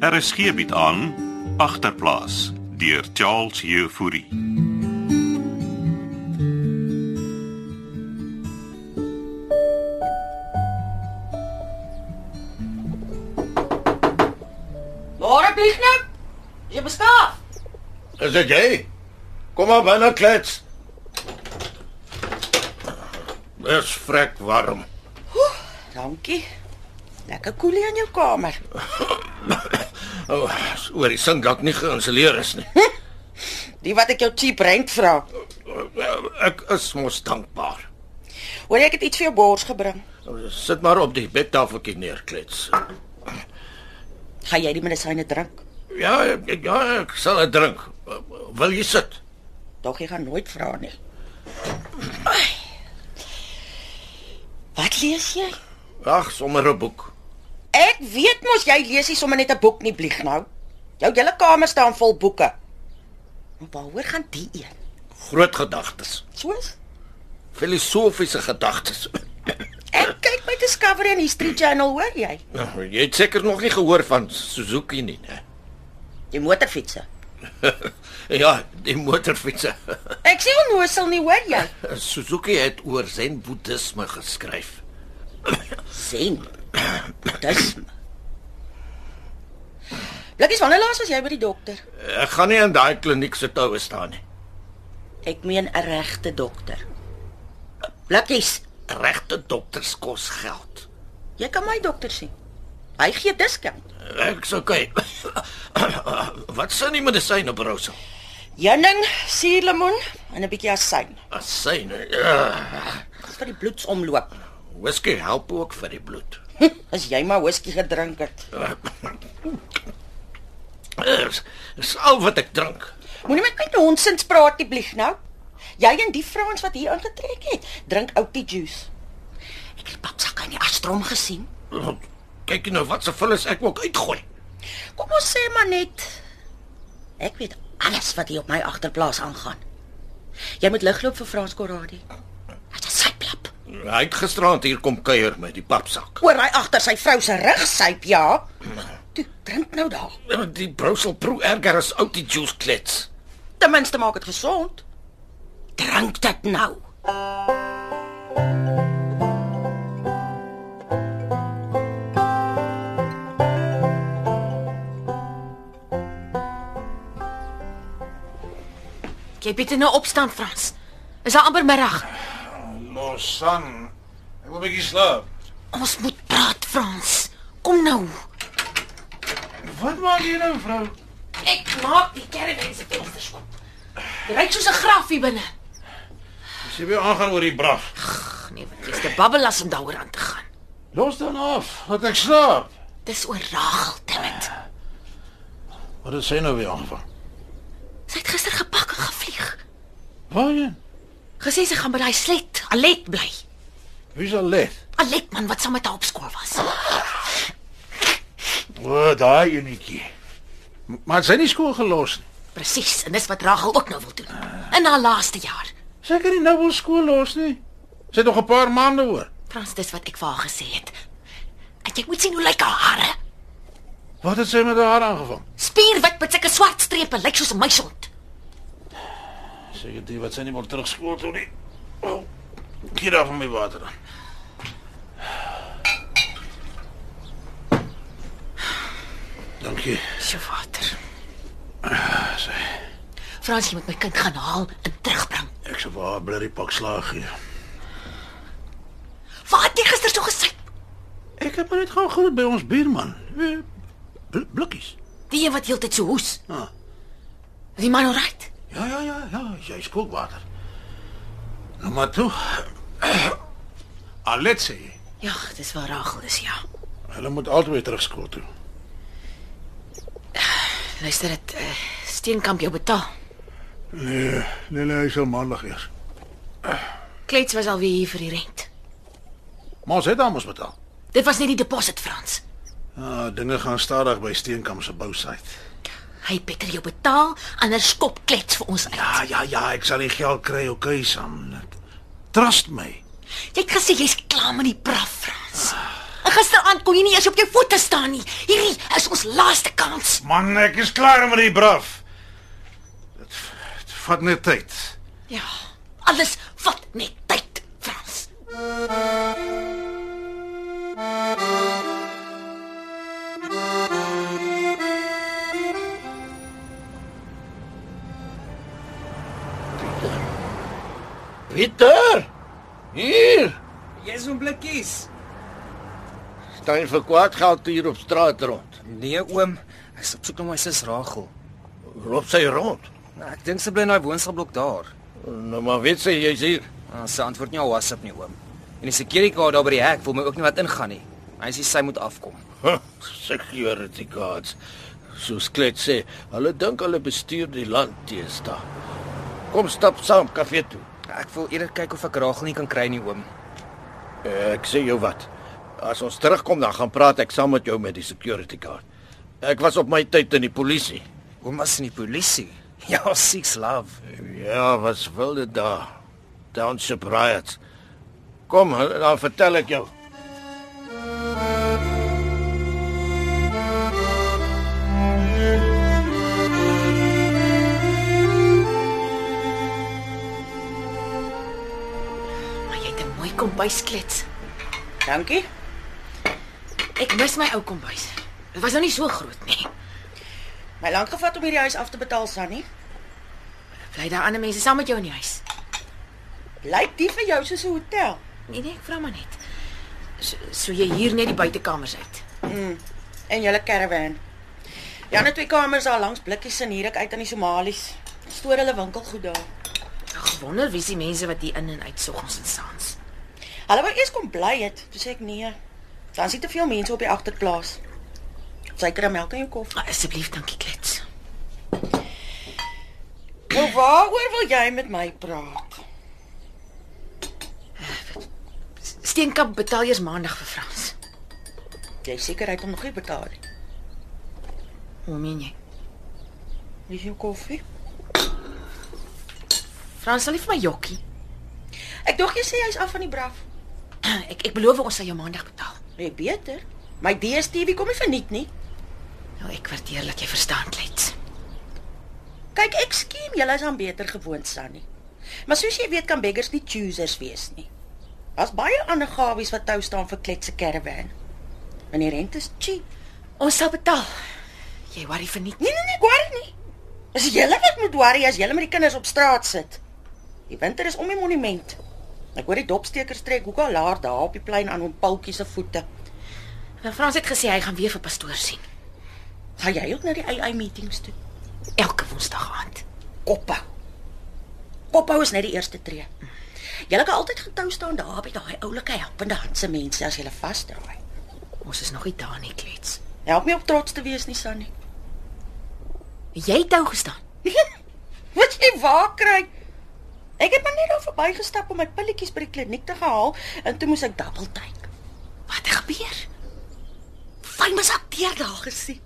Er is geebiet aan agterplaas deur Charles Jefouri. Môre Blieknip. Jy bestaaf. Is dit jy? Kom maar binne klets. Dis vrek warm. Dankie. Lekker koelie in jou kamer. O, oh, oor die sink dat nie geïnstalleer is nie. Die wat ek jou cheap rent vra. Ek is mos dankbaar. Hoor jy ek het iets vir jou bors gebring. Sit maar op die bedtafeltjie neer klets. Gaan jy die medisyne drink? Ja, ek- ja, ek sal dit drink. Wil jy sit? Tog jy gaan nooit vra nie. Ai. Wat lees jy? Ag, sommer 'n boek. Ek weet mos jy lees nie sommer net 'n boek nie, Bliek nou. Jou hele kamer staan vol boeke. Maar waaroor gaan die een? Groot gedagtes. Soos Filosofiese gedagtes. ek kyk my Discovery en History Channel, hoor jy? Nou, Jy het seker nog nie gehoor van Suzuki nie, né? Die motorfietsse. Ja, die motorfietsse. Ek sê onnoosel nie, hoor jy? Suzuki het oor Zen Boeddhisme geskryf. Zen. Boeddhisme. Blikkies, wanneer laas was jy by die dokter? Ek gaan nie in daai kliniek se toue staan nie. Ek meen 'n regte dokter. Blikkies, Regte dokters kos geld. jy kan my dokter sien. Hy gee diskant. Ek sê okay. Wat s'n die medisyne op Rosa? Jenning, suurlemoen en 'n bietjie asyn. Asyne. Uh, Dis vir die bloedsomloop. whisky help ook vir die bloed. As jy maar whisky gedrink het. Dis dis er al wat ek drink. Moenie met my nonsens praat nie, blieg nou. Jy en die vrouens wat hier ingetrek het, drink outie juice. Ek het die papsak aan die astrom gesien. Kyk nou wat se vullis ek ook uitgooi. Kom ons sê maar net ek weet alles wat hier op my agterplaas aangaan. Jy moet ligloop vir Frans Corradi. Hy's 'n syplap. Hy het gisterand hier kom kuier met die papsak. Oor hy agter sy vrou se rug syp, ja. Toe, drink nou daar. Die Brussel proe erger as ou die juice klets. Ten minste maak dit gesond. Drink dit nou. Jy bied nou opstaan Frans. Is daar amper middag? Los son. Ek wil 'n bietjie slaap. Ons moet praat Frans. Kom nou. Wat maak jy nou, vrou? Ek maak die caravan se vensters oop. Dit Ryk soos 'n graf hier binne. As jy weer aangaan oor die braaf. Ag nee, wat is te babbel as om daaroor aan te gaan. Los dan af. Laat ek slaap. Dis oor Rachel, dammit. Wat is sy nou weer aanvang? Sy het gister gepak en gevlieg. Waarheen? Gesê sy gaan by daai slet, Alet bly. Wie sal let? Alet man wat saam met haar op skool was. O, oh, daai enetjie. M- Maar sy het nie skool gelos nie. Presies, en dis wat Rachel ook nou wil doen. In haar laaste jaar. Sy kan nie nou wil skool los nie. Sy het nog 'n paar maande oor. Frans, dis wat ek vir haar gesê het. En jy moet sien hoe lyk haar hare. Wat het sy met haar aangevang? Spierwit met sulke swart strepe, lyk soos 'n muishond. Seker dit wat sy nie wil terug skool toe nie. Oh, hier af met my water dan. Dankie. Sy vader. Frans, jy moet my kind gaan haal en terugbring. Ek sou vir haar 'n blerrie pak slaag gee. Waar het jy gister so gesit? Ek het maar net gaan groet by ons buurman. Eh, bl- Blikkies. Die een wat heeltyd so hoes. Ah. Is Die man alright? Ja, ja, ja, ja, jy skook water. Nou maar toe. Aletsie. Ja, dis waar Rachel is, ja. Hulle moet altyd terug skool toe. Luister, dit eh, uh, Steenkamp jou betaal. Nee, nee, nee, hy sal maandag eers. Klets was al weer hier vir die rent. Maar ons het almos betaal. Dit was net die deposit, Frans. Ah, dinge gaan stadig by Steenkamp se bousite. Hy het beter jou betaal, anders skop Klets vir ons uit. Ja, Ah, ja, ja, ek sal die geld kry, okay, Sam. Trust my. Jy het gesê jy's klaar met die braaf, Frans. En gister aand kon jy nie eers op jou voete staan nie. Hierdie is ons laaste kans. Man, ek is klaar met die braaf. Dit, dit vat net tyd. Ja, alles vat net tyd, Frans. Pieter. Hier. Jy's om blikkies. Staan vir kwaad geld hier op straat rond. Nee oom, ek's op soek na my sus Rachel. Loop sy rond. Nou, ek dink sy bly in daai woonstelblok daar. Nou maar weet sy jy's hier. Ah, sy antwoord nie op WhatsApp nie oom. En die security guard daar by die hek wil my ook nie wat ingaan nie. Hy sê sy moet afkom. Huh, Security guards. Soos Klet sê, hulle dink hulle bestuur die land teenstaan. Kom stap saam kafee toe. Ek wil eerder kyk of ek Rachel nie kan kry nie oom. Ek sê jou wat. As ons terugkom dan gaan praat ek saam met jou met die security guard. Ek was op my tyd in die polisie. Oom was in die polisie. Ja, six love. Ja, was wilde daar. Township riots. Kom, dan vertel ek jou. Maar jy het 'n mooi kombuis klets. Dankie. Ek mis my ou kombuis. Dit was nou nie so groot nie. My lank gevat om hierdie huis af te betaal, Sannie. Bly daar ander mense saam met jou in die huis? Lyk die vir jou soos 'n hotel? Nee nee, ek vra maar net. So, so jy hier net die buitekamers uit. En julle caravan. Ja, net twee kamers daar langs blikkies en hier ek uit aan die Somalies. Stoor hulle winkelgoed daar. Ek wonder wie se mense wat hier in en uit soggens en saans. Hulle wou eers kom bly het, toe sê ek nee. Dan sit te veel mense op die agterplaas. Suiker en melk in jou koffie. Maar Asseblief, dankie klets. Nou waaroor wil jy met my praat? Steenkamp betaal eers maandag vir Frans. Jy seker hy het hom nog nie betaal nie. Hoe meen jy? Wie jou koffie? Frans sal nie vir my jokkie. Ek dink jy sê hy's af van die braaf. Ek ek beloof ons sal jou maandag betaal. Jy Nee, beter. My DStv kom nie verniet nie. Nou ek waardeer dat jy verstaan klets. Kyk, ek skiem, julle is aan beter gewoond, Sunny. Maar soos jy weet kan beggars nie choosers wees nie. Daar's baie ander gawies wat tou staan vir kletse caravan. En die rente is cheap. Ons sal betaal. Jy worry vir niks. Nee nee nee, worry nie. Dis julle wat moet worry as julle met die kinders op straat sit. Die winter is om die monument. Ek hoor die dopstekers trek hoeka laar daar op die plein aan hom paltjie se voete. Nou Frans het gesê hy gaan weer vir pastoor sien. Gaan jy ook na die AI meetings toe? Elke woensdag aand. Kophou. Kophou is net die eerste tree. Julle kan altyd getou staan daar by daai oulike helpende handse mense as julle vasdraai. Ons is nog nie daar nie klets. Help my om trots te wees nie, Sannie. Jy het ou gestaan. Wat jy waar kry? Ek het maar net daar verbygestap om my pilletjies by die kliniek te gehaal en toe moes ek double take. Wat het gebeur? Fyn was ek deur daar gesien.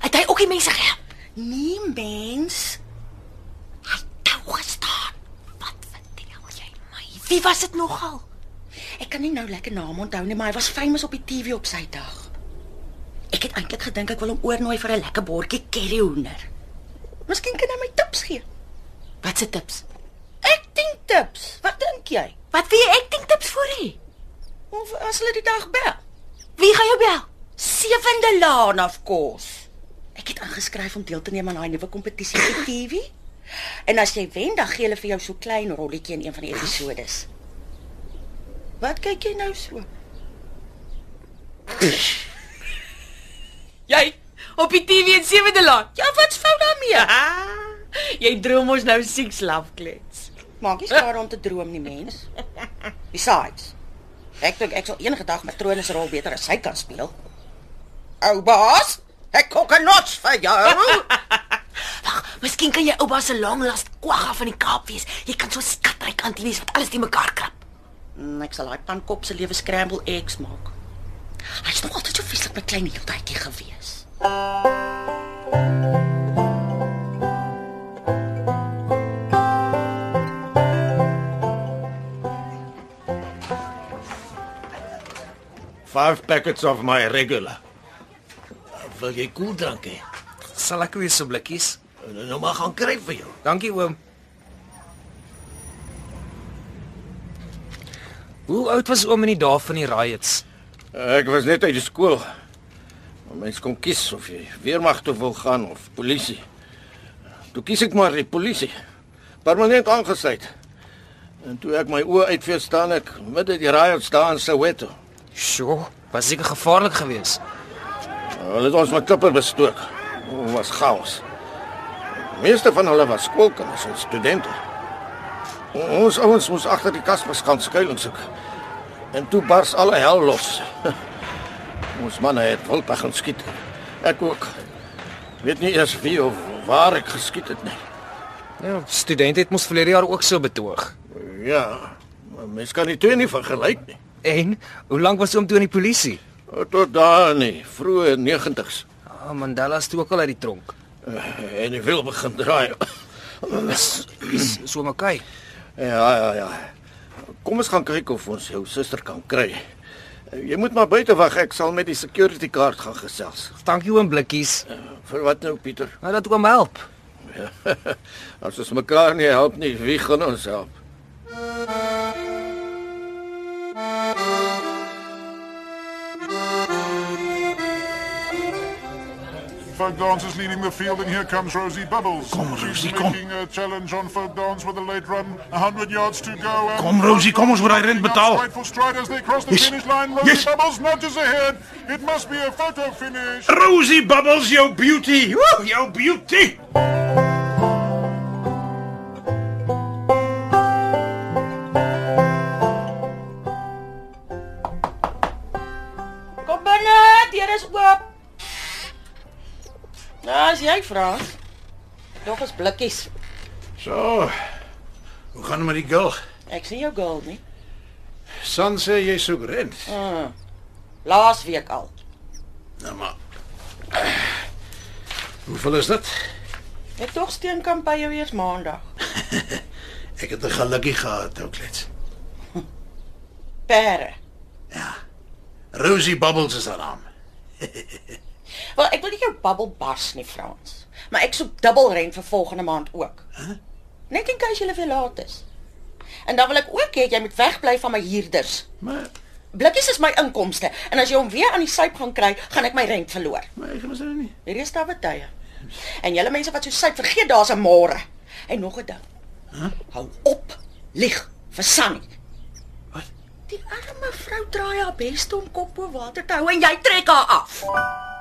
Het hy ook die mense gehelp? Nee, mens. Hy het ou gestaan. Wat vertel jy my? Wie was dit nogal? Ek kan nie nou lekker naam onthou nie, maar hy was famous op die TV op sy dag. Ek het eintlik gedink ek wil hom oornooi vir 'n lekker bordjie curryhoender. Miskien kan hy my tips gee. Wat se tips? Ek dink tips. Wat dink jy? Wat wie ek dink tips vir hê? Of as hulle die dag bel? Wie gaan jou bel? Sewende laan of course. Ek het aangeskryf om deel te neem aan daai nuwe kompetisie vir TV. En as jy wen, dan gee hulle vir jou so klein rolletjie in een van die episodes. Wat kyk jy nou so? Jy op die TV in Sewende Laan. Ja, wat's fout daarmee? Jy droom ons nou seks love klets. Maak nie skade om te droom nie, mens. Besides, ek dink ek sal enige dag matrones rol beter as hy kan speel. Ou baas, ek kook 'n notch vir jou. Wag, miskien kan jy oupa se long last kwagga van die Kaap wees. Jy kan so skatryk aan wees wat alles te mekaar krap. Mm, Ek sal daai pankop se lewe scramble eggs maak. Hy's nog altyd so vieslik met klein heeltydjie gewees. Five packets of my regular. Wil jy koeldrank hê? Sal ek weer so blikkies? Nou maar gaan kry vir jou. Dankie oom. Hoe oud was oom in die dae van die riots? Ek was net uit die skool. Maar mens kon kies of jy weermag toe wil gaan of polisie. Toe kies ek maar die polisie. Permanent aangesluit. En toe ek my oë uitvee staan ek midde die riot staan in Soweto. Sjoe, was seker gevaarlik geweest. Hulle het ons met klippe bestook. Dit was chaos. Meeste van hulle was skoolkinders en studente. O- Ons ouens moes agter die kasbas gaan skuilings soek. En toe bars alle hel los. Ons manne het wild begin skiet. Ek ook. Weet nie eers wie of waar ek geskiet het nee. nie. Ja, studente het mos verlede jaar ook so betoog. Ja, maar mens kan die twee nie vergelyk nie. En hoe lank was oom toe in die polisie? Tot daar nie, vroeë 90s. Ah, Mandela is toe ook al uit die tronk. En die wiel begin draai. Is so makai. Ja, ja, ja. Kom ons gaan kyk of ons jou suster kan kry. Jy moet maar buite wag, ek sal met die security kaart gaan gesels. Dankie oom Blikkies. Vir wat nou, Pieter? Nou dat oom help. As ons mekaar nie help nie, wie gaan ons help? Folk Dance is leading the field, and here comes Rosie Bubbles. Kom, Rosie, She's kom. making a challenge on Folk Dance with a late run. 100 yards to go. and- Kom, Rosie, kom, ons moet daai rent betaal. Stride for stride as they cross the Yes. finish line. Rosie Yes. Bubbles nudges ahead. It must be a photo finish. Rosie Bubbles, jou beauty. Woe, jou beauty. Kom binne, deur is oop. Nou, as jy vra. Nog eens blikkies. So. Hoe gaan dit met die girl? Ek sien jou gold nie. San sê jy soek rent. Laas week al. Nou maar. eh, Hoeveel is dit? Ek tog steen kan by jou eers maandag. Ek het 'n gelukkie gehad, ou klets. Pere. Rosie Bubbles is haar naam. Wel, ek wil nie jou bubble bars nie, Frans. Maar ek soek dubbel rent vir volgende maand ook. Huh? Net in case jy weer laat is. En dan wil ek ook hê jy moet wegbly van my huurders. Maar Blikkies is my inkomste en as jy hom weer aan die syp gaan kry, gaan ek my rent verloor. maar ek was daar nie. Hierdie is daar baie. En julle mense wat so syp vergeet daar's 'n môre. En nog 'n ding. Huh? Hou op lieg vir Sunny. Wat? Die arme vrou draai haar bes om kop bo water te hou en jy trek haar af.